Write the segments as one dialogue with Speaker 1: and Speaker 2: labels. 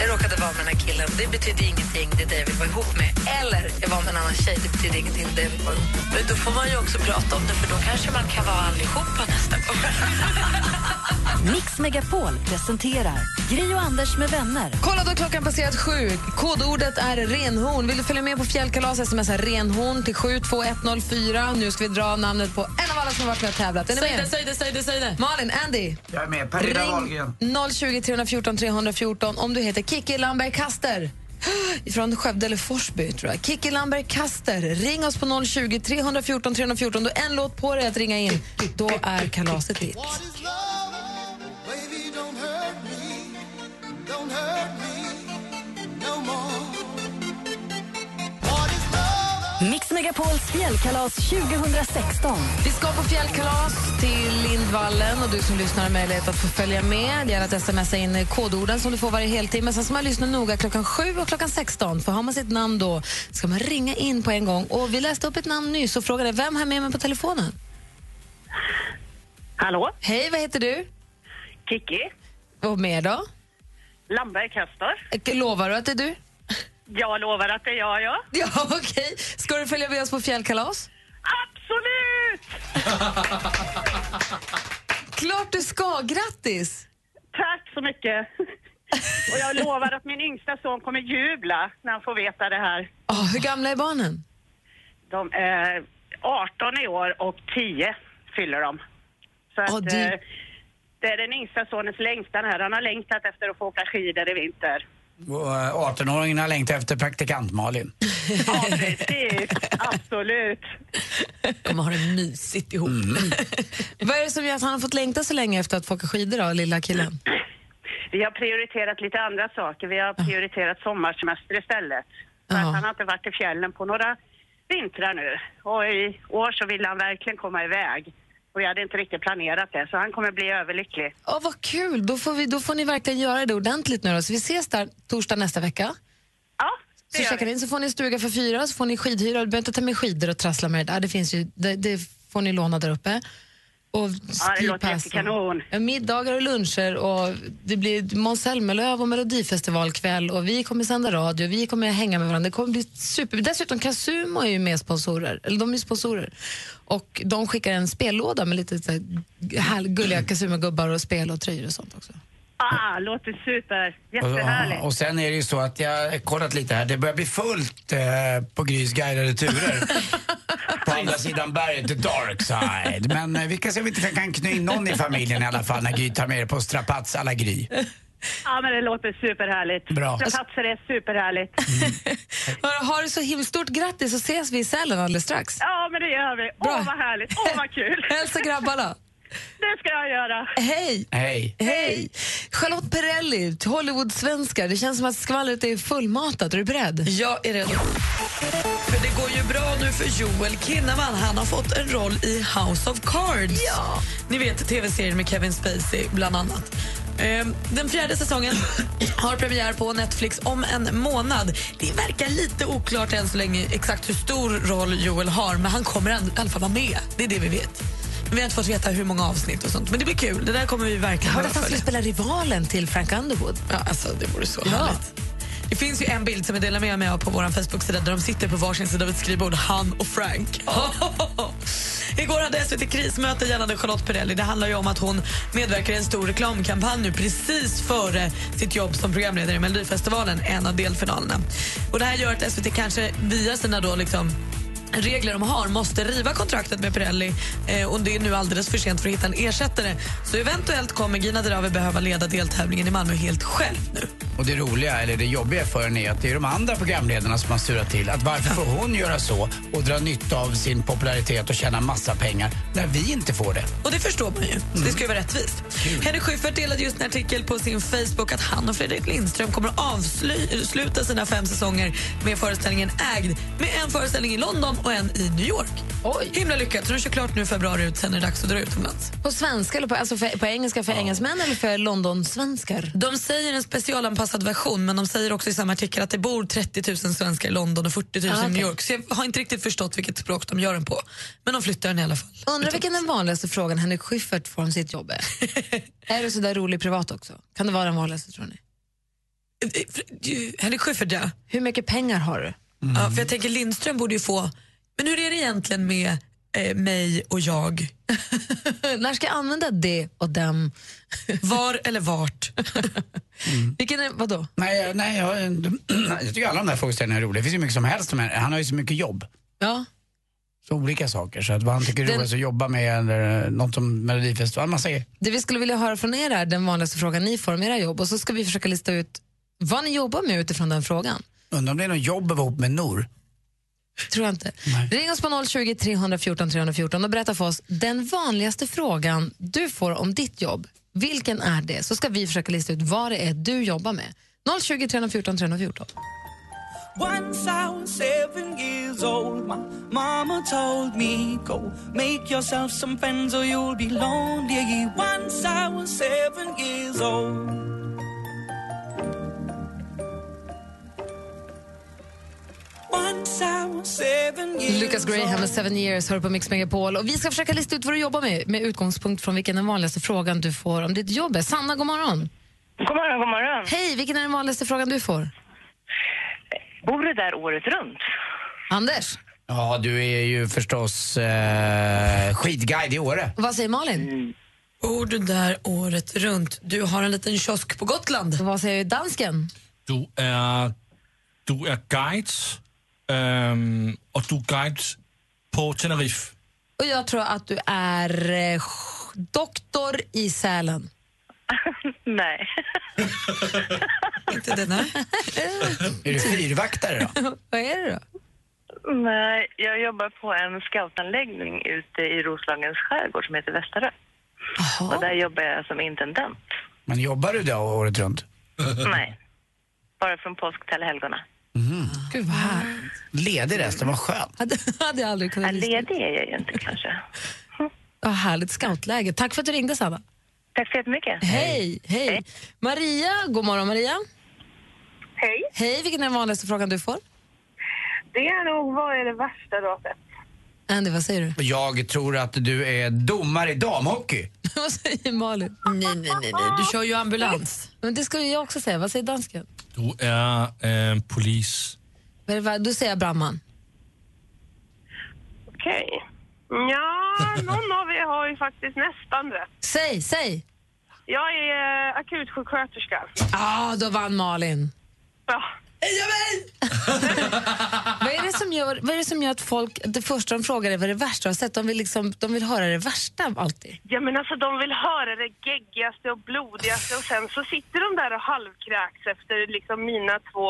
Speaker 1: Jag råkade vara med den här killen. Det betydde ingenting, det David var ihop med. Eller jag var med en annan tjej, det betydde ingenting, det David var ihop med. Men då får man ju också prata om det, för då kanske man kan vara allihopa nästa gång.
Speaker 2: Mix Megapol presenterar Gri och Anders med vänner.
Speaker 1: Kolla då klockan passerat sju. Kodordet är renhorn. Vill du följa med på fjällkalas, smsa renhorn till 72104. Nu ska vi dra namnet på en av alla som har varit med och tävlat. Är ni med?
Speaker 3: Säg det, säg det, säg det.
Speaker 1: Malin, Andy.
Speaker 4: Jag är med. Pernilla Wahlgren.
Speaker 1: 020 314 314 om du heter Kiki Lamberg Kaster. Från Skövde eller Forsby, tror jag. Kiki Lamberg Kaster, ring oss på 020 314 314. Då en låt på dig att ringa in. Då är kalaset ditt.
Speaker 2: Mix Megapols fjällkalas 2016.
Speaker 1: Vi ska på fjällkalas till Lindvallen och du som lyssnar har möjlighet att få följa med. Det gäller att smsa in kodorden som du får varje heltimme. Sen ska man lyssna noga klockan 7 och klockan 16. För har man sitt namn då ska man ringa in på en gång. Och vi läste upp ett namn nyss och frågade vem har med mig på telefonen?
Speaker 5: Hallå,
Speaker 1: Hej, vad heter du?
Speaker 5: Kiki.
Speaker 1: Och mer då?
Speaker 5: Lamberg Kastor.
Speaker 1: Lovar du att det är du?
Speaker 5: Jag lovar att det är jag, ja.
Speaker 1: Ja, okej. Ska du följa med oss på fjällkalas?
Speaker 5: Absolut!
Speaker 1: Klart du ska! Grattis!
Speaker 5: Tack så mycket. Och jag lovar att min yngsta son kommer jubla när han får veta det här.
Speaker 1: Ah, hur gamla är barnen?
Speaker 5: De är 18 i år och 10 fyller de. Så att,
Speaker 1: Ja, det-
Speaker 5: eh, det är den yngsta sonens längtan här. Han har längtat efter att få åka skidor i vinter.
Speaker 4: Och, eh, 18-åringen har längtat efter praktikant-Malin.
Speaker 5: Ja, precis. Absolut.
Speaker 3: Kommer ha det mysigt ihop.
Speaker 1: Vad är det som gör att han har fått längta så länge efter att få åka skidor, då, lilla killen?
Speaker 5: Vi har prioriterat lite andra saker. Vi har prioriterat sommarsemester istället. Så
Speaker 1: Ja.
Speaker 5: att han har inte varit i fjällen på några vintrar nu. Och i år så ville han verkligen komma iväg. Och vi hade inte riktigt planerat det, så han kommer bli överlycklig.
Speaker 1: Åh, vad kul! Då får, vi, då får ni verkligen göra det ordentligt nu då. Så vi ses där torsdag nästa vecka.
Speaker 5: Ja, det
Speaker 1: Så
Speaker 5: gör
Speaker 1: checkar
Speaker 5: vi.
Speaker 1: in så får ni stuga för fyra, så får ni skidhyra. Du behöver inte ta med skidor och trassla med det där. Det, finns ju, det, det får ni låna där uppe. Och
Speaker 5: det låter
Speaker 1: skipass.
Speaker 5: jättekanon.
Speaker 1: Ja, middagar och luncher och det blir Måns Zelmerlöw och Melodifestivalkväll och vi kommer sända radio, vi kommer hänga med varandra. Det kommer bli super. Dessutom Casumo är ju med sponsorer, eller de är ju sponsorer. Och de skickar en spellåda med lite så här, här, gulliga Casumo-gubbar och spel och tröjor och sånt också.
Speaker 5: Ah, låter super. Jättehärligt.
Speaker 4: Och, och sen är det ju så att jag har kollat lite här. Det börjar bli fullt eh, på Grys guidade turer. på andra sidan berget, the dark side. Men eh, vi kan se om vi inte kan kny in någon i familjen i alla fall när Gry tar med er på strapats alla Gry.
Speaker 5: Ja, men det låter superhärligt.
Speaker 4: Bra.
Speaker 5: Strapatser är superhärligt.
Speaker 1: Hör, Ha det så himla stort grattis så ses vi i Sälen alldeles strax.
Speaker 5: Ja, men det gör vi. Åh,
Speaker 1: Bra.
Speaker 5: vad härligt. Åh, vad kul.
Speaker 1: Hälsa grabbarna.
Speaker 5: Det ska jag göra.
Speaker 1: Hej!
Speaker 4: Hej.
Speaker 1: Hej! Charlotte Perrelli, Hollywood-svenskar. Det känns som att skvallret är fullmatat. Är du beredd?
Speaker 3: Jag är redo. För det går ju bra nu för Joel Kinnaman. Han har fått en roll i House of Cards. Ja. Ni vet tv-serien med Kevin Spacey bland annat. Ehm, Den fjärde säsongen har premiär på Netflix om en månad. Det verkar lite oklart än så länge exakt hur stor roll Joel har men han kommer i alla fall vara med. Det är det vi vet. Men vi har inte fått veta hur många avsnitt och sånt. Men det blir kul. Det där kommer vi verkligen
Speaker 1: Hörde
Speaker 3: behöva
Speaker 1: att han
Speaker 3: följa.
Speaker 1: skulle spela rivalen till Frank Underwood.
Speaker 3: Ja, alltså, det vore så
Speaker 1: Ja.
Speaker 3: härligt. Det finns ju en bild som jag delar med mig av på vår Facebook-sida där de sitter på varsin sida av ett skrivbord, han och Frank. Igår hade SVT krismöte gällande Charlotte Perrelli. Det handlar ju om att hon medverkar i en stor reklamkampanj nu precis före sitt jobb som programledare i Melodifestivalen, en av delfinalerna. Och det här gör att SVT kanske via sina då liksom regler de har måste riva kontraktet med Pirelli eh, och det är nu alldeles för sent för att hitta en ersättare. Så eventuellt kommer Gina Dravi behöva leda deltävlingen i Malmö helt själv nu.
Speaker 4: Och det roliga, eller det jobbiga för henne är att det är de andra programledarna som har surat till. Att varför får hon göra så och dra nytta av sin popularitet och tjäna massa pengar när vi inte får det?
Speaker 6: Och det förstår man ju. Så Det ska ju vara rättvist. Henrik Schyffert delade just en artikel på sin Facebook att han och Fredrik Lindström kommer att avsluta sina fem säsonger med föreställningen Ägd med en föreställning i London och en i New York. Oj. Himla lyckat. Så de kör klart nu i februari ut, sen är det dags att dra utomlands.
Speaker 1: På svenska, eller på, alltså för, på engelska för engelsmän eller för Londonsvenskar?
Speaker 6: De säger en specialanpassad version men de säger också i samma artikel att det bor 30 000 svenskar i London och 40 000
Speaker 1: Ah,
Speaker 6: i
Speaker 1: okej.
Speaker 6: New York. Så jag har inte riktigt förstått vilket språk de gör den på. Men de flyttar den i alla fall.
Speaker 1: Undrar vilken den vanligaste frågan Henrik Schyffert får om sitt jobb är. är du sådär rolig privat också? Kan det vara den vanligaste tror ni?
Speaker 6: Eh, eh, du, Henrik Schyffert, ja.
Speaker 1: Hur mycket pengar har du?
Speaker 6: Ja, för jag tänker Lindström borde ju få, men hur är det egentligen med eh, mig och jag?
Speaker 1: När ska jag använda det och dem?
Speaker 6: Var eller vart?
Speaker 1: Mm. Vilken är, vadå?
Speaker 4: Nej, eh, nej jag, de, jag tycker alla de där frågeställningarna är roliga. Det finns ju mycket som helst. Men han har ju så mycket jobb.
Speaker 1: Ja.
Speaker 4: Så olika saker. Så att vad han tycker är
Speaker 1: Den-
Speaker 4: roligast att jobba med eller eh, något som Melodifestivalen, man säger.
Speaker 1: Det vi skulle vilja höra från er är den vanligaste frågan ni får om era jobb och så ska vi försöka lista ut vad ni jobbar med utifrån den frågan.
Speaker 4: Undrar om det är något jobb att vara ihop med Nor.
Speaker 1: Tror jag inte.
Speaker 4: Nej.
Speaker 1: Ring oss på 020 314 314 och berätta för oss den vanligaste frågan du får om ditt jobb. Vilken är det? Så ska vi försöka lista ut vad det är du jobbar med. 020 314 314.
Speaker 7: Once I was seven years old, my mama told me, Go make yourself some friends or you'll be lonely. Once I was seven years old. Once I was seven years
Speaker 1: Lucas Graham med
Speaker 7: old.
Speaker 1: Seven Years hör på Mix Megapol och vi ska försöka lista ut vad du jobbar med med utgångspunkt från vilken den vanligaste frågan du får om ditt jobb är. Sanna, god morgon.
Speaker 5: God morgon, god morgon.
Speaker 1: Hej, vilken är den vanligaste frågan du får?
Speaker 5: Bor du där året runt?
Speaker 1: Anders,
Speaker 4: Ja, du är ju förstås eh, skidguide i Åre.
Speaker 1: och vad säger Malin?
Speaker 6: Bor du där året runt? Du har en liten kiosk på Gotland.
Speaker 1: Och vad säger dansken?
Speaker 8: Du er, du er guide, øhm, og du er guide på Tenerife.
Speaker 1: Och jag tror att du är eh, doktor i Sälen.
Speaker 5: Nej.
Speaker 6: Inte det, nej.
Speaker 4: Är du fyrvaktare då?
Speaker 1: Vad är det då?
Speaker 5: Nej, jag jobbar på en scoutanläggning ute i Roslagens skärgård som heter Västerö. Och där jobbar jag som intendent.
Speaker 4: Men jobbar du då året runt?
Speaker 5: Nej, bara från påsk till helgona.
Speaker 1: Gud vad härligt.
Speaker 4: Ledig resten, vad skönt.
Speaker 1: Hade, hade jag aldrig
Speaker 5: Ja,
Speaker 1: kunnat lista.
Speaker 5: ledig är jag ju inte kanske.
Speaker 1: Vad härligt scoutläge. Tack för att du ringde Sanna.
Speaker 5: Tack så jättemycket.
Speaker 1: Hej, hej. Maria, god morgon Maria.
Speaker 5: Hej.
Speaker 1: Hej, vilken är den vanligaste frågan du får?
Speaker 5: Det är nog, vad är det värsta då?
Speaker 1: Andy, vad säger du?
Speaker 4: Jag tror att du är domare i damhockey.
Speaker 1: vad säger Malin?
Speaker 6: Nej, nej, nej, nej. Du kör ju ambulans.
Speaker 1: Men det skulle jag också säga. Vad säger dansken?
Speaker 8: Du er øhm, polis.
Speaker 1: Men vad- Då säger jag brandman.
Speaker 5: Okej. Ja, någon av er har ju faktiskt nästan rätt.
Speaker 1: Säg, säg!
Speaker 5: Jag är eh, akutsjuksköterska.
Speaker 1: Ja, ah, då vann Malin.
Speaker 5: Ja.
Speaker 1: Vad är, det som gör, vad är det som gör att folk, det första de frågar är vad är det värsta du har sett? De vill, liksom, de vill höra det värsta alltid.
Speaker 5: Ja men alltså de vill höra det geggigaste och blodigaste och sen så sitter de där och halvkräks efter liksom mina två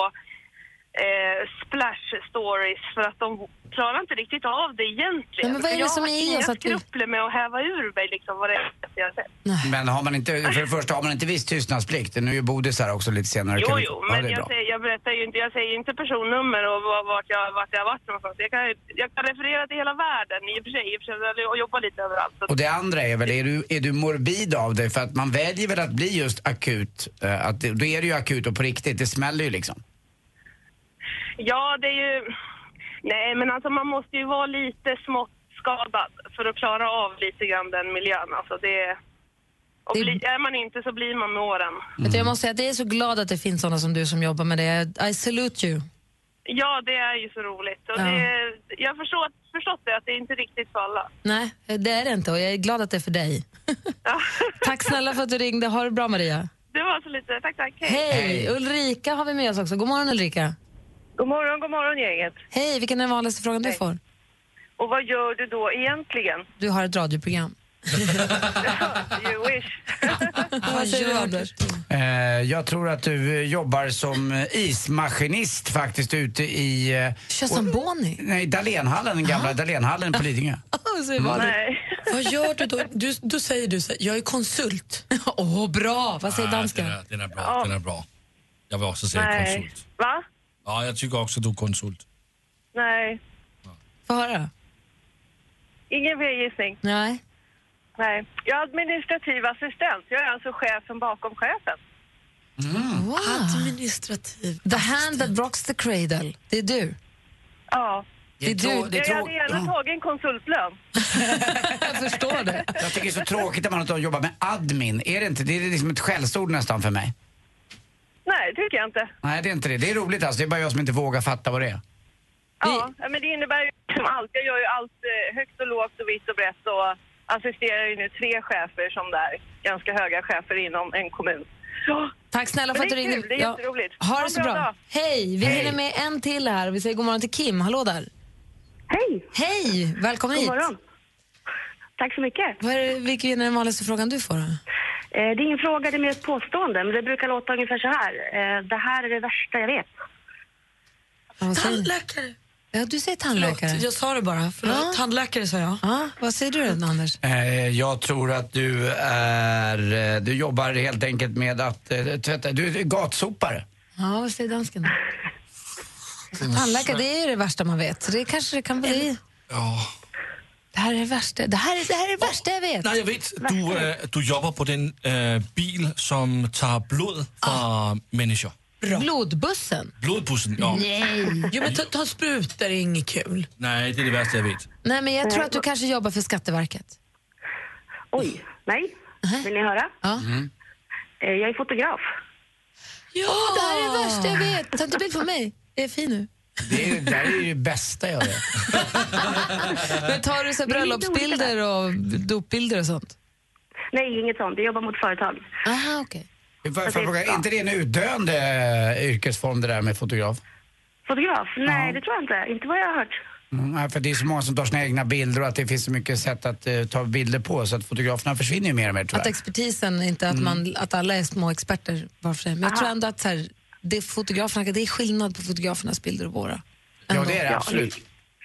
Speaker 5: eh, splash stories för att de klarar inte riktigt av det egentligen.
Speaker 1: Nej, men vad är
Speaker 5: För
Speaker 1: det
Speaker 5: jag
Speaker 1: som
Speaker 5: har
Speaker 1: är i
Speaker 5: inga
Speaker 1: oss att vi-
Speaker 5: skrupler med att häva ur mig liksom vad det är jag har sett.
Speaker 4: Men har man inte, för det första har man inte viss tystnadsplikt. Nu är ju Bodis här också lite senare.
Speaker 5: Jo
Speaker 4: Kan vi-
Speaker 5: jo,
Speaker 4: Ja,
Speaker 5: men
Speaker 4: det är
Speaker 5: jag,
Speaker 4: bra.
Speaker 5: säger, jag berättar ju inte, jag säger ju inte personnummer och var- vart jag, vart jag har varit någonstans. Jag kan, ju- jag kan referera till hela världen i och för sig, i och för sig och jobba lite överallt. Så
Speaker 4: Och det andra är väl, är du, är du morbid av dig? För att man väljer väl att bli just akut. eh, Att det, då är det ju akut och på riktigt, det smäller ju liksom.
Speaker 5: Ja, det är ju... Nej, men alltså man måste ju vara lite smått skadad för att klara av lite grann den miljön. Alltså det... Och
Speaker 1: Det-
Speaker 5: bli, är man inte så blir man med åren.
Speaker 6: Mm.
Speaker 1: Vet du, jag måste säga att jag är så glad att det finns såna som du som jobbar med det. Jag- I salute you.
Speaker 5: Ja, det är ju så roligt. Och
Speaker 1: Ja.
Speaker 5: det, jag har förstått, förstått det, att det är inte riktigt för alla.
Speaker 1: Nej, det är det inte och jag är glad att det är för dig.
Speaker 5: Ja.
Speaker 1: Tack snälla för att du ringde. Ha det bra Maria.
Speaker 5: Det var så lite. Tack, tack. Hej.
Speaker 1: Hej!
Speaker 4: Hej.
Speaker 1: Ulrika har vi med oss också. God morgon Ulrika.
Speaker 5: God morgon, god morgon gänget.
Speaker 1: Hej, vilken är den vanligaste frågan du får?
Speaker 5: Och vad gör du då egentligen?
Speaker 1: Du har ett radioprogram.
Speaker 5: you wish.
Speaker 1: Vad säger du, Anders?
Speaker 4: Eh, jag tror att du eh, jobbar som eh, ismaskinist faktiskt ute i... eh,
Speaker 1: Kör som
Speaker 4: och-
Speaker 1: Bonnie.
Speaker 4: Nej, Dahlénhallen, den gamla Dahlénhallen på Lidingö.
Speaker 1: Vad,
Speaker 5: Nej.
Speaker 6: Vad gör du då? Du, då säger du så här, jag är konsult. Ah,
Speaker 1: Åh, bra! Vad säger
Speaker 8: Nej,
Speaker 1: dansken?
Speaker 8: Den är, den är bra, den är bra. Jag vill också säga
Speaker 5: Nej.
Speaker 8: konsult.
Speaker 5: Va?
Speaker 8: Ja, jag tycker också du är konsult.
Speaker 5: Nej.
Speaker 1: Få höra.
Speaker 5: Ingen mer gissning.
Speaker 1: Nej.
Speaker 5: Nej. Jag är administrativ assistent. Jag är alltså chefen bakom chefen.
Speaker 1: Wow.
Speaker 6: Mm. Administrativ.
Speaker 1: The hand that rocks the cradle. Det är du.
Speaker 5: Ja.
Speaker 1: Det är du.
Speaker 4: det är
Speaker 5: Jag hade gärna
Speaker 4: trå-
Speaker 5: tagit en konsultlön.
Speaker 1: Jag förstår det.
Speaker 4: jag tycker det är så tråkigt att man inte jobbar med admin. Är det inte? Det är liksom ett skällsord nästan för mig.
Speaker 5: Nej, tycker jag inte.
Speaker 4: Nej, det är inte det. Det är roligt alltså. Det är bara jag som inte vågar fatta vad det är.
Speaker 5: Ja, men det innebär ju som allt. Jag gör ju allt eh, högt och lågt och vitt och brett och assisterar ju nu tre chefer som där, ganska höga chefer inom en kommun. Ja,
Speaker 1: Tack snälla för
Speaker 5: Men
Speaker 1: att du
Speaker 5: det är
Speaker 1: ringde.
Speaker 5: kul, det är jätteroligt.
Speaker 1: Ha
Speaker 5: Ha
Speaker 1: det
Speaker 5: en
Speaker 1: så
Speaker 5: bra
Speaker 1: bra.
Speaker 5: dag.
Speaker 1: Hej, vi hinner med en till här. Vi säger god morgon till Kim. Hallå där.
Speaker 5: Hej,
Speaker 1: Hej, välkommen
Speaker 5: god
Speaker 1: hit.
Speaker 5: morgon. Tack så mycket.
Speaker 1: Vad är, det- vilken är den vanligaste frågan du får? då?
Speaker 5: Eh, det är ingen fråga, det är mer ett påstående, men det brukar låta ungefär så här. Eh, det här är det värsta jag vet.
Speaker 1: Ja, vad säger du?
Speaker 6: Tandläkare.
Speaker 1: Ja, du säger
Speaker 6: Förlåt,
Speaker 1: tandläkare.
Speaker 6: jag sa det bara. Förlåt.
Speaker 1: Ja.
Speaker 6: Tandläkare sa jag.
Speaker 1: Ja, vad säger du då, Anders?
Speaker 4: Eh, jag tror att du är... eh, Du jobbar helt enkelt med att eh, tvätta... Du är gatsopare.
Speaker 1: Ja, vad säger dansken? då? Tandläkare, det är ju det värsta man vet. Så det kanske det kan bli.
Speaker 8: Ja.
Speaker 1: Det här är det värsta, det här är det, här är det värsta jag vet.
Speaker 8: Nej, jeg ved, du, øh, du jobber på den øh, bil, som tager blod fra mennesker.
Speaker 1: Blodbussen?
Speaker 8: Blodbussen, ja.
Speaker 1: Nej.
Speaker 6: Jo, men ta, ta sprutor är inget kul.
Speaker 8: Nej, det er det værste, jeg ved.
Speaker 1: Nej, men jag tror att du kanske jobbar för Skatteverket.
Speaker 5: Oj, nej. Vill ni höra?
Speaker 1: Ja.
Speaker 5: Eh, jag är fotograf.
Speaker 6: Ja!
Speaker 1: Det här är det värsta jag vet. Ta inte bild på mig. Jag är fin nu.
Speaker 4: Det, är, ju- det här är ju det bästa jag vet.
Speaker 1: Men tar du så här
Speaker 5: Det är lite
Speaker 1: bröllopsbilder och dopbilder och sånt?
Speaker 5: Nej, inget sånt. Jag jobbar mot företag.
Speaker 1: Aha, okej.
Speaker 4: Får jag fråga, Är inte det en utdöende eh, yrkesform det där med fotograf?
Speaker 5: Fotograf? Nej, det tror jag inte. Inte vad jag har hört.
Speaker 4: Mm, nej, för det är så många som tar sina egna bilder och att det finns så mycket sätt att eh, ta bilder på så att fotograferna försvinner ju mer och mer
Speaker 1: Att
Speaker 4: tyvärr.
Speaker 1: expertisen, inte att, man, att alla är små experter var för sig. Men jag tror ändå att så här, det, är fotograferna, det är skillnad på fotografernas bilder och våra.
Speaker 4: Ja, det är det absolut.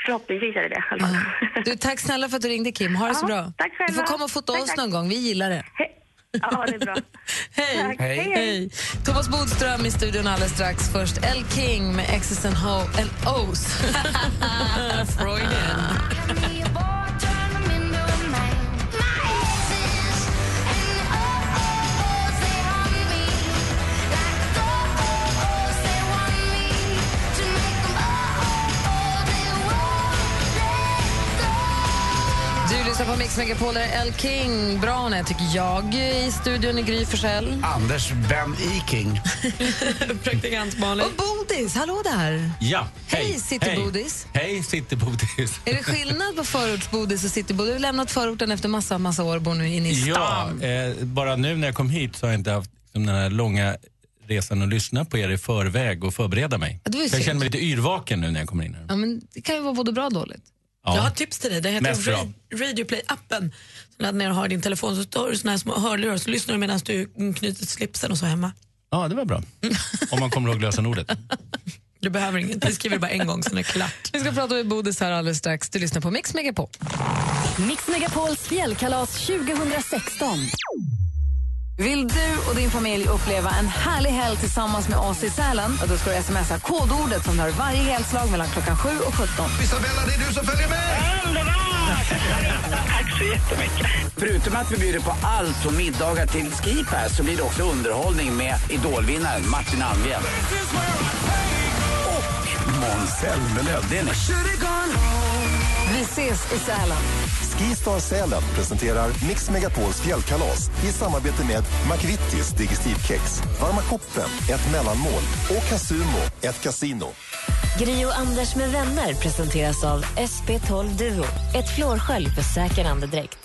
Speaker 5: Förhoppningsvis är det Alltså. det. i alla fall.
Speaker 1: Du, tack snälla för att du ringde Kim. Ha det så
Speaker 5: Ja,
Speaker 1: bra.
Speaker 5: tack själva.
Speaker 1: Du får komma och fota
Speaker 5: Tack,
Speaker 1: oss
Speaker 5: tack.
Speaker 1: någon gång. Vi gillar det.
Speaker 5: Hej. Ja, det är bra.
Speaker 1: Hej.
Speaker 5: Tack. Hej, hej.
Speaker 1: Thomas Bodström i studion alldeles strax. Först El King med X's and Ho and O's. Freudian. Du lyssnar på Mix Megapol. Där är El King, bra hon är, tycker jag, i studion i Gry Forssell.
Speaker 4: Anders Ben Eking.
Speaker 6: Praktikant Malin.
Speaker 1: Och Bodis, hallå där!
Speaker 3: Ja,
Speaker 1: Hej, Citybodis.
Speaker 3: Hej, Citybodis.
Speaker 1: Är det skillnad på förortsbodis och citybodis? Du har lämnat förorten efter massa, massa år och bor nu inne i
Speaker 3: Ja,
Speaker 1: stan.
Speaker 3: eh, bara nu när jag kom hit så har jag inte haft liksom, den här långa resan att lyssna på er i förväg och förbereda mig.
Speaker 1: Ja, det var ju
Speaker 3: Så jag
Speaker 1: synd.
Speaker 3: känner mig lite yrvaken nu när jag kommer in här.
Speaker 1: Ja, men det kan ju vara både bra och dåligt.
Speaker 3: Ja.
Speaker 6: Jag har ett tips till dig. Det heter
Speaker 3: Mest bra.
Speaker 6: Ra- Radio Play-appen. Så Laddar ner och har i din telefon så tar du såna här små hörlurar så lyssnar du medan du knyter slipsen och så hemma.
Speaker 3: ja, det var bra.
Speaker 1: Mm.
Speaker 3: Om man kommer ihåg lösenordet.
Speaker 6: Du behöver inget. Du skriver bara en gång sen är det klart.
Speaker 1: Vi ska prata med Bodis här alldeles strax. Du lyssnar på Mix Megapol.
Speaker 2: Mix Megapols fjällkalas 2016.
Speaker 9: Vill du och din familj uppleva en härlig helg tillsammans med oss i Sälen? Ja, Då ska du smsa kodordet som hör varje helslag mellan klockan 7 och 17.
Speaker 7: Isabella, det är du som följer med!
Speaker 4: Förutom att vi bjuder på allt från middagar till skipass så blir det också underhållning med idolvinnaren Martin Almgren. Och Måns Zelmerlöw. Det är ni.
Speaker 9: Vi ses i Sälen.
Speaker 10: Skistar Sälen presenterar Mix Megapols fjällkalas i samarbete med McVittys Digestivkex, Varma koppen, ett mellanmål och Casumo, ett kasino.
Speaker 2: Gri och Anders med vänner presenteras av SP12 Duo. Ett flårskölj för säker andedräkt.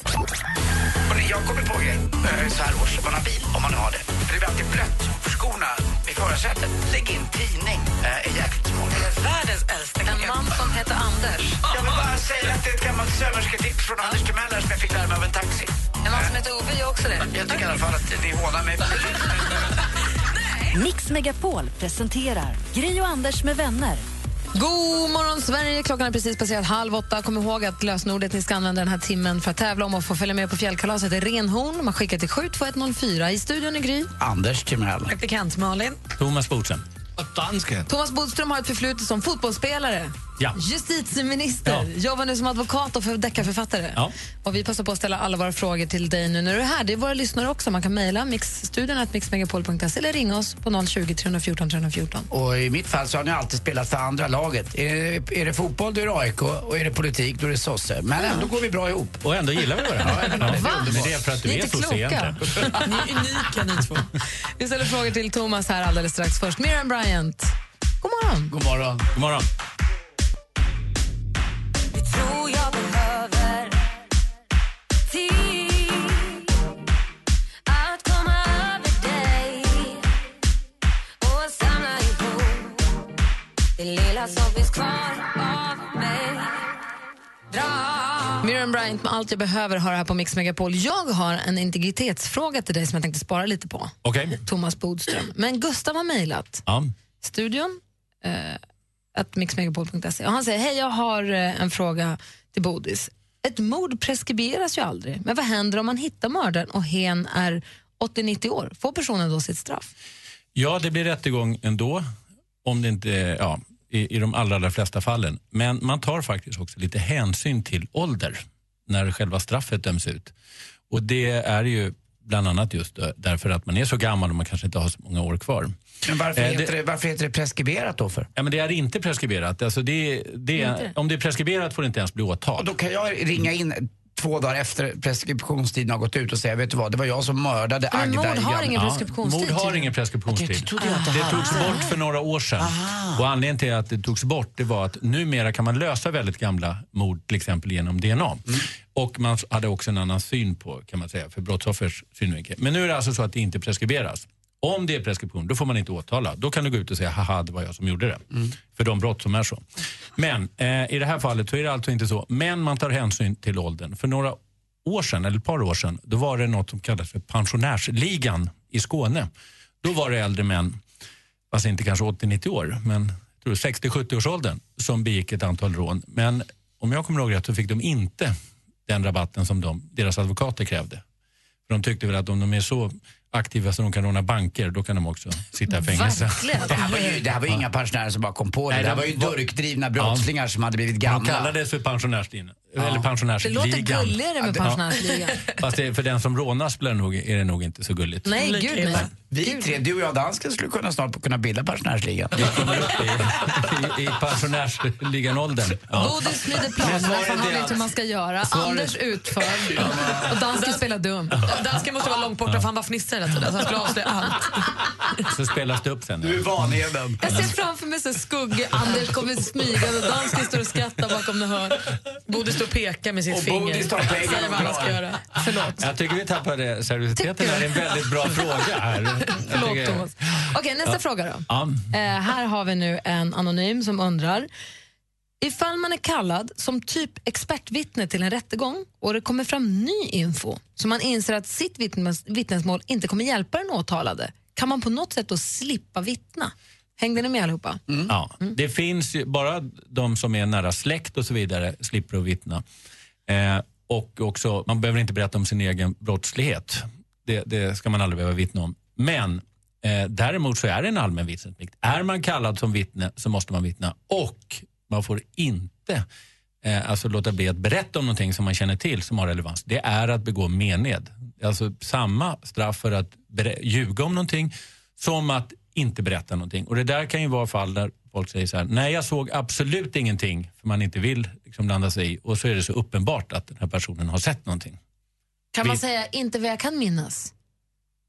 Speaker 4: Jag kommer på grejen eh, så här års, om man har bil, om man har det. För det blir alltid blött för skorna i förarsätet. Lägg in tidning. Eh, är jäkligt smart. Det är världens äldsta
Speaker 1: En man som heter Anders.
Speaker 4: Jag vill bara säga att det är ett gammalt sömmersketips från Anders Timeller som jag fick lära mig av en taxi.
Speaker 1: En man som heter Ove gör också det.
Speaker 4: Jag tycker i alla fall att ni hånar mig.
Speaker 2: Mix Megapol presenterar Gri och Anders med vänner.
Speaker 1: God morgon, Sverige! Klockan är precis passerat halv åtta. Kom ihåg att lösenordet ni ska använda den här timmen för att tävla om och få följa med på fjällkalaset är renhorn. Man skickar till 72104. I studion är Gry.
Speaker 4: Anders Timell.
Speaker 1: Praktikant Malin.
Speaker 3: Thomas Bodström.
Speaker 1: Thomas Bodström har ett förflutet som fotbollsspelare,
Speaker 3: Ja.
Speaker 1: justitieminister,
Speaker 3: Ja.
Speaker 1: jobbar nu som advokat och för- deckarförfattare.
Speaker 3: Ja.
Speaker 1: Och vi passar på att ställa alla våra frågor till dig nu när du är här. Det är våra lyssnare också. Man kan mejla mixstudion.mixmegapol.se eller ringa oss på 020 314 314.
Speaker 4: Och i mitt fall så har ni alltid spelat för andra laget. Är det, är det fotboll då är det AIK och är det politik då är det sosse. Men ändå går vi bra ihop.
Speaker 3: Och ändå gillar vi varandra. Ja, Men det är för att du är sosse egentligen.
Speaker 1: Ni är unika ni två. Vi ställer frågor till Thomas här alldeles strax. Först Miriam Bryant. God morgon.
Speaker 4: God morgon.
Speaker 3: God morgon.
Speaker 11: tror jag behöver tid att komma över dig och samla ihop det lilla som finns kvar av mig.
Speaker 1: Miriam Bryant med Allt jag behöver har det här på Mix Megapol. Jag har en integritetsfråga till dig som jag tänkte spara lite på.
Speaker 3: Okej.
Speaker 1: Thomas Bodström. Men Gustav har mejlat
Speaker 3: Ja.
Speaker 1: studion eh, att mixmegapol.se och han säger hej jag har eh, en fråga till Bodis. Ett mord preskriberas ju aldrig, men vad händer om man hittar mördaren och hen är 80-90 år? Får personen då sitt straff?
Speaker 3: Ja, det blir rättegång ändå. Om det inte, ja, i, I de allra, allra flesta fallen. Men man tar faktiskt också lite hänsyn till ålder när själva straffet döms ut. Och Det är ju bland annat just därför att man är så gammal och man kanske inte har så många år kvar.
Speaker 4: Men varför,
Speaker 3: Eh, det-
Speaker 4: heter det, varför heter det preskriberat då för?
Speaker 3: Ja, men det är inte preskriberat. Alltså det, det,
Speaker 4: Inte?
Speaker 3: Om det är preskriberat får det inte ens bli åtal.
Speaker 4: Då kan jag ringa in två dagar efter preskriptionstiden har gått ut och säga vet du vad, det var jag som mördade
Speaker 3: Men
Speaker 4: Agda
Speaker 3: mord
Speaker 4: i
Speaker 3: har
Speaker 4: Granne."
Speaker 3: ingen Ja, preskriptionstid, mord har tydligen. ingen preskriptionstid.
Speaker 4: Det trodde jag inte
Speaker 3: Det togs
Speaker 4: hade.
Speaker 3: bort för några år sedan. Och anledningen till att det togs bort det var att numera kan man lösa väldigt gamla mord till exempel genom DNA. Och man hade också en annan syn på, kan man säga, för brottsoffers synvinkel. Men nu är det alltså så att det inte preskriberas. Om det är preskription, då får man inte åtala. Då kan du gå ut och säga, haha, det var jag som gjorde det. För de brott som är så. Men eh, i det här fallet så är det alltså inte så. Men man tar hänsyn till åldern. För några år sedan, eller ett par år sedan, då var det något som kallades för pensionärsligan i Skåne. Då var det äldre män, fast inte kanske 80-90 år, men jag tror 60-70 års åldern som begick ett antal rån. Men om jag kommer ihåg rätt så fick de inte den rabatten som de, deras advokater krävde. För de tyckte väl att om de är så aktiva så de kan råna banker, då kan de också sitta i fängelse.
Speaker 4: Det här var ju, det här var ju inga pensionärer som bara kom på det.
Speaker 3: Nej,
Speaker 4: det här
Speaker 3: de
Speaker 4: var ju
Speaker 3: var-
Speaker 4: durkdrivna brottslingar som hade blivit gamla.
Speaker 3: De kallades för pensionärsligan. Eller
Speaker 1: Det
Speaker 3: pensionärsligan.
Speaker 1: låter gulligare med
Speaker 3: Ja.
Speaker 1: pensionärsligan.
Speaker 3: Fast det, för den som rånas blir det nog, är det nog inte så gulligt.
Speaker 1: Nej, gud, nej.
Speaker 4: Vi tre, du och jag dansken, skulle kunna snart kunna bilda pensionärsligan.
Speaker 3: I, i pensionärsligan-åldern. Ja.
Speaker 1: Bodil smider planerna för han vet hur man ska göra.
Speaker 3: Svaret-
Speaker 1: Anders utför och dansken spelar dum.
Speaker 6: Dansken måste vara långt borta för han bara fnissar hela tiden. Så han skulle avslöja allt.
Speaker 3: Så spelas det upp sen. Du
Speaker 4: är Vanheden.
Speaker 1: Jag ser framför mig så skugge, Anders kommer smygande och dansken står och skrattar bakom något hörn.
Speaker 6: Bodil står och pekar med sitt
Speaker 1: Och
Speaker 6: finger.
Speaker 1: Bodil tar pengar
Speaker 6: Säger vad
Speaker 1: och
Speaker 6: han ska
Speaker 1: drar.
Speaker 6: göra.
Speaker 3: Jag tycker vi tappade seriositeten.
Speaker 1: Tycker
Speaker 3: här.
Speaker 1: du?
Speaker 3: Det är en väldigt bra fråga. Här. Jag
Speaker 1: Förlåt,
Speaker 3: tycker-
Speaker 1: Thomas. Okej, nästa
Speaker 3: Ja.
Speaker 1: fråga då.
Speaker 3: Ja.
Speaker 1: Eh, här har vi nu en anonym som undrar. Ifall man är kallad som typ expertvittne till en rättegång och det kommer fram ny info så man inser att sitt vittnes- vittnesmål inte kommer hjälpa den åtalade, kan man på något sätt då slippa vittna? Hängde ni med allihopa?
Speaker 3: Ja. Det finns ju, bara de som är nära släkt och så vidare slipper att vittna. Eh, och också, man behöver inte berätta om sin egen brottslighet. Det, det ska man aldrig behöva vittna om. Men eh, däremot så är det en allmän vittnesplikt. Är man kallad som vittne så måste man vittna och man får inte eh, alltså låta bli att berätta om någonting som man känner till som har relevans. Det är att begå mened. Alltså samma straff för att berä- ljuga om någonting som att inte berätta någonting. Och det där kan ju vara fall där folk säger så här, nej jag såg absolut ingenting för man inte vill liksom blanda sig i och så är det så uppenbart att den här personen har sett någonting.
Speaker 1: Kan man
Speaker 3: Vi-
Speaker 1: säga inte vad jag kan minnas?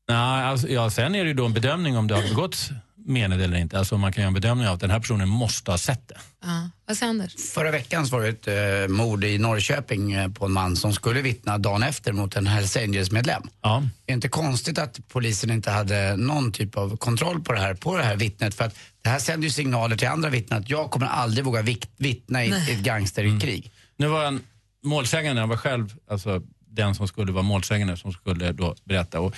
Speaker 3: Nej, alltså, ja, sen är det ju då en bedömning om det har begåtts menade eller inte. Alltså man kan göra en bedömning av att den här personen måste ha sett det.
Speaker 1: Ja. Vad säger Anders?
Speaker 4: Förra veckan så var det ett eh, mord i Norrköping eh, på en man som skulle vittna dagen efter mot en Hells Angels-medlem.
Speaker 3: Ja.
Speaker 4: Det är inte konstigt att polisen inte hade någon typ av kontroll på det här, på det här vittnet. För att det här sänder ju signaler till andra vittnen att jag kommer aldrig våga vikt, vittna i, i ett gangsterkrig.
Speaker 3: Nu var han målsägande, han var själv alltså, den som skulle vara målsägande som skulle då berätta. Och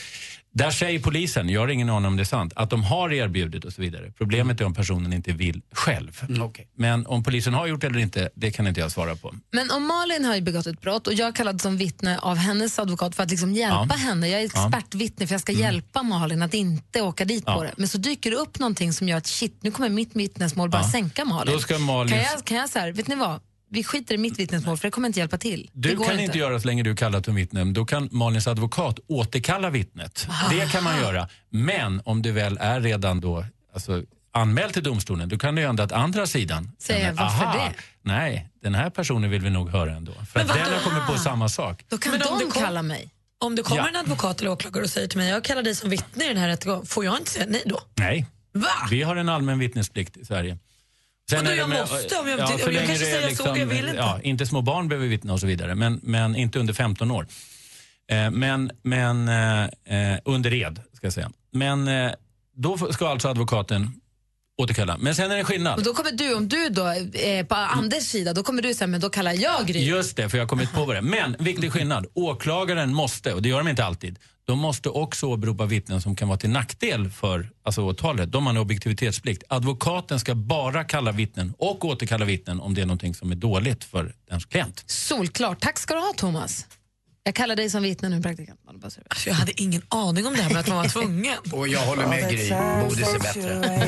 Speaker 3: där säger polisen, jag har ingen aning om det är sant, att de har erbjudit och så vidare. Problemet är om personen inte vill själv. Men om polisen har gjort det eller inte, det kan inte jag svara på.
Speaker 1: Men om Malin har ju begått ett brott och jag kallad som vittne av hennes advokat för att liksom hjälpa
Speaker 3: Ja.
Speaker 1: henne. Jag är
Speaker 3: Ja.
Speaker 1: expertvittne för jag ska
Speaker 3: Mm.
Speaker 1: hjälpa Malin att inte åka dit
Speaker 3: Ja.
Speaker 1: på det. Men så dyker det upp någonting som gör att shit, nu kommer mitt vittnesmål bara
Speaker 3: Ja.
Speaker 1: sänka Malin.
Speaker 3: Då ska Malin-
Speaker 1: Kan jag, kan jag så här, vet ni vad? Vi skiter i mitt vittnesmål för det kommer inte hjälpa till.
Speaker 3: Du
Speaker 1: det går
Speaker 3: kan inte göra så länge du är kallad som vittne. Då kan Malins advokat återkalla vittnet. Det kan man göra. Men om du väl är redan då alltså, anmäld till domstolen, då kan det ju hända att andra sidan
Speaker 1: Säger,
Speaker 3: känner,
Speaker 1: "Varför
Speaker 3: "Aha,
Speaker 1: det?"
Speaker 3: Nej, den här personen vill vi nog höra ändå. För
Speaker 6: Men
Speaker 3: att
Speaker 6: vadå?
Speaker 3: den har kommit på samma sak.
Speaker 1: Då kan
Speaker 6: Men om
Speaker 1: de
Speaker 6: det kom-
Speaker 1: kalla mig.
Speaker 6: Om det kommer
Speaker 3: Ja.
Speaker 6: en advokat eller åklagare och säger till mig jag kallar dig som vittne i den här rättegången, får jag inte säga nej då?
Speaker 3: Nej,
Speaker 6: Va?
Speaker 3: vi har en allmän vittnesplikt i Sverige.
Speaker 6: Vadå,
Speaker 3: är det
Speaker 6: jag måste? Om jag- om jag
Speaker 3: så
Speaker 6: kanske
Speaker 3: länge det är liksom-
Speaker 6: säger jag såg, jag vill inte.
Speaker 3: Ja, inte små barn behöver vittna och så vidare, men, men inte under 15 år. Eh, Men, men eh, eh, under red, ska jag säga. Men eh, då f- ska alltså advokaten återkalla. Men sen är det en
Speaker 1: Och
Speaker 3: skillnad.
Speaker 1: då kommer du, om du då är på Anders sida, då kommer du säga, men då kallar jag Gry.
Speaker 3: Just det, för jag har kommit på det. Men viktig skillnad. Åklagaren måste, och det gör de inte alltid, de måste också åberopa vittnen som kan vara till nackdel för alltså, åtalet. De har en objektivitetsplikt. Advokaten ska bara kalla vittnen och återkalla vittnen om det är någonting som är dåligt för dens klient.
Speaker 1: Solklart. Tack ska du ha, Thomas. Jag kallar dig som vittne nu, praktikant. Alltså,
Speaker 6: jag hade ingen aning om det här med att man var tvungen.
Speaker 4: Och jag håller med Gry, Bodis är bättre.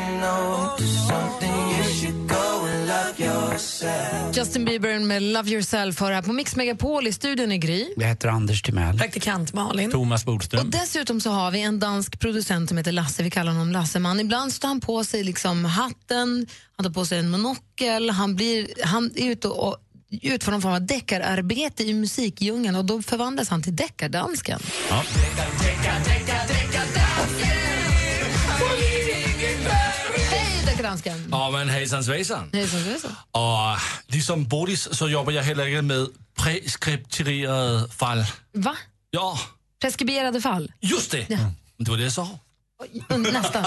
Speaker 7: on to something, you should go and love yourself.
Speaker 1: Justin Bieber med Love Yourself hör här på Mix Megapol i studion i Gry.
Speaker 4: Jag heter Anders Timell.
Speaker 1: Praktikant Malin.
Speaker 3: Thomas Bodström.
Speaker 1: Och dessutom så har vi en dansk producent som heter Lasse, vi kallar honom Lasseman. Ibland så tar han på sig liksom hatten, han tar på sig en monokel, han, blir, han är ute och, och utför någon form av deckararbete i musikdjungeln och då förvandlas han till deckardansken.
Speaker 3: Ja.
Speaker 1: Hej deckardansken!
Speaker 12: Ja, men hejsan svejsan.
Speaker 1: Hej, så är det så.
Speaker 12: Och liksom Bodis så jobbar jag heller inte med preskripterade fall.
Speaker 1: Va?
Speaker 12: Ja,
Speaker 1: Preskriberade fall?
Speaker 12: just det. Det var det jag sa.
Speaker 1: Mm, Nästan.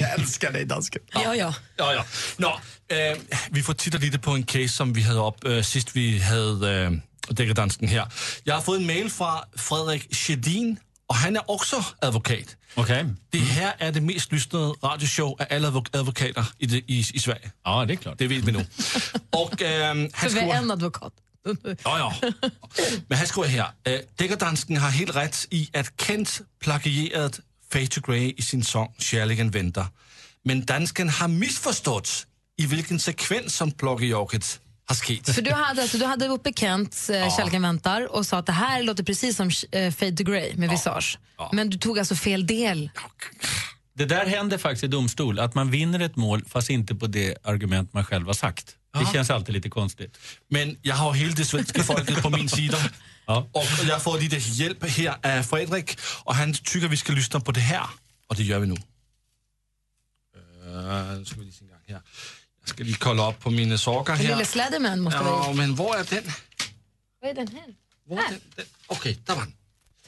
Speaker 12: jag älskar dig dansken.
Speaker 1: Ja, ja.
Speaker 12: Ja, ja. Nå, øh, vi får titta lite på en case, som vi havde op øh, sidst, vi havde øh, dækket dansken her. Jeg har fået en mail fra Frederik Sjedin, og han er også advokat.
Speaker 3: Okay.
Speaker 12: Det her er det mest lyssnede radioshow af alle advok- advokater i, det, i, i Sverige.
Speaker 3: Ja, det er klart.
Speaker 12: Det ved vi nu. og øh, han
Speaker 1: För vi
Speaker 12: skriver-
Speaker 1: har en advokat.
Speaker 12: Jo, jo. Men han skriver her, øh, Dækkerdansken har helt ret i, at Kent plagieret Fade to Grey i sin sang Kjærligheden venter. Men dansken har misforstået, i hvilken sekvens som plagiorket har sket.
Speaker 1: För du hade, alltså, du hade uppe Kents eh,
Speaker 12: Ja.
Speaker 1: Kärleken väntar och sa att det här låter precis som eh, Fade to Grey med Visage. Men du tog alltså fel del.
Speaker 3: Det där händer faktiskt i domstol, att man vinner ett mål fast inte på det argument man själv har sagt. Det känns alltid lite konstigt.
Speaker 12: Men jeg har jo hele det svenske folket på min side. Og jeg får lidt hjælp her af Frederik, og han tykker, vi skal lytte på det her. Og det gør vi nu. Øh, nu skal vi lige se en gang her. Jeg skal lige kolde op på mine sorger
Speaker 1: Den
Speaker 12: her.
Speaker 1: lille Sladderman måste vara
Speaker 12: Ja, men hvor er den?
Speaker 1: Vad är den här? här.
Speaker 12: Okay, der var den.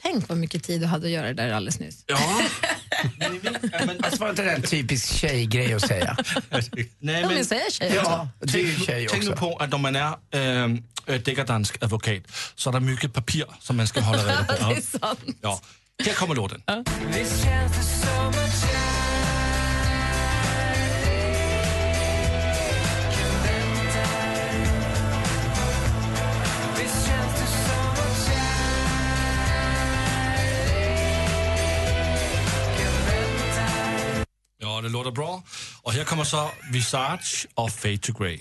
Speaker 1: Tänk vad mycket tid du hade att göra det där alldeles nyss.
Speaker 12: Ja.
Speaker 4: Alltså var inte det en typisk tjejgrej att säga?
Speaker 12: Nej,
Speaker 1: men säger tjej
Speaker 4: Ja,
Speaker 1: också.
Speaker 4: det är ju tjej
Speaker 12: Tænk nu
Speaker 4: också.
Speaker 12: på, at når man er øh, øh, dækkerdansk advokat, så er der mye papir, som man skal holde rede på.
Speaker 11: Det er sant.
Speaker 12: Ja. Her kommer lorten.
Speaker 11: This chance is so much
Speaker 12: Ja, det låter bra. Og her kommer så Visage og Fade to Grey.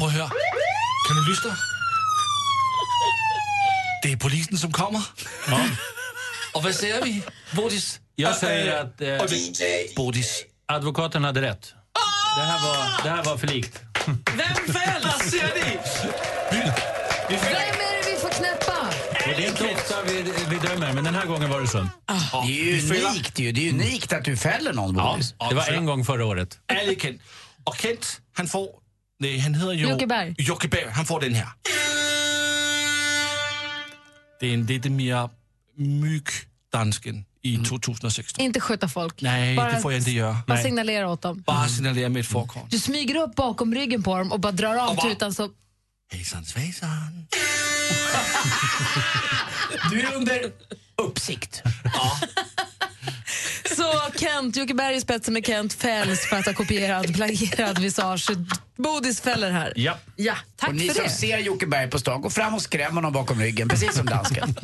Speaker 12: hør. Kan du lytte dig? Det er polisen, som kommer. Ja. Og hvad siger vi? Bodis?
Speaker 3: Jag säger att... eh,
Speaker 12: Og det- Bodis.
Speaker 3: Advokaten hade rätt. Det här var, det här var för likt.
Speaker 6: Vem fälls? Ser ni?
Speaker 3: Vi
Speaker 1: Vem är det vi får knäppa?
Speaker 3: Och det är inte ofta vi, vi dömer, men den här gången var det så.
Speaker 4: Det är ju unikt ju. Det är unikt att du fäller någon, Bodis.
Speaker 3: Det var en gång förra året.
Speaker 12: Alle kendt. Og Kent, han får... Nej, han hedder jo...
Speaker 1: Jokke Berg.
Speaker 12: Jokke Berg, han får den her. Det er en lidt mere myg dansken
Speaker 3: Mm.
Speaker 12: i 2016.
Speaker 1: Inte skjuta folk.
Speaker 12: Nej,
Speaker 1: Bara-
Speaker 12: det får jag inte gøre.
Speaker 1: Bara signalera åt dem.
Speaker 12: Bare signalere med et forkort.
Speaker 1: Du smyger upp bakom ryggen på dem och bara drar av tutan så...
Speaker 12: Hejsan svejsan.
Speaker 4: Du är under uppsikt.
Speaker 1: Så Kent, Jocke Berg i spetsen med Kent fälls för att ha kopierat, plagierat visage. Bodis fäller här.
Speaker 3: Ja.
Speaker 1: Ja, tack
Speaker 4: och ni
Speaker 1: för
Speaker 4: som
Speaker 1: det.
Speaker 4: ser Jocke Berg på stan, gå fram och skräm honom bakom ryggen, precis som dansken.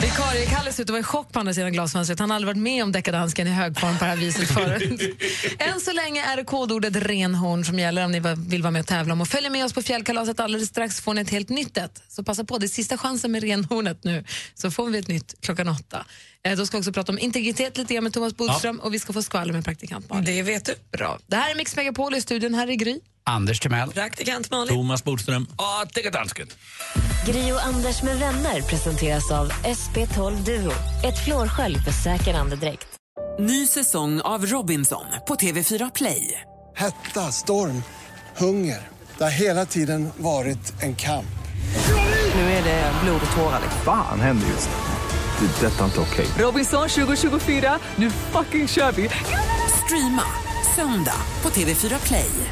Speaker 1: Vikarie-Kalle ser ut att vara i chock på andra sidan glasfönstret. Han har aldrig varit med om deckardansken i hög form på det här viset förut. Än så länge är det kodordet renhorn som gäller om ni va- vill vara med och tävla om. Och följer med oss på fjällkalaset alldeles strax får ni ett helt nytt ett. Så passa på, det är sista chansen med renhornet nu. Så får vi ett nytt klockan åtta. Eh, då ska vi också prata om integritet lite grann med Thomas Bodström och vi ska få skvaller med praktikant Malin.
Speaker 6: Det vet du.
Speaker 1: Bra. Det här är Mix Megapol i studion. Här är Gry.
Speaker 4: Anders Timell.
Speaker 6: Praktikant Malin.
Speaker 3: Thomas Bodström.
Speaker 12: Og det kan dansken.
Speaker 2: Gri och Anders med vänner presenteras av SP12 Duo. Ett flårskölj för säker andedräkt.
Speaker 13: Ny säsong av Robinson på TV4 Play.
Speaker 14: Hetta, storm, hunger. Det har hela tiden varit en kamp.
Speaker 13: Nu är det blod och tårar.
Speaker 15: Fan händer just nu. det. är Detta är inte okej.
Speaker 13: Robinson 2024, nu fucking kör vi! Streama söndag på TV4 Play.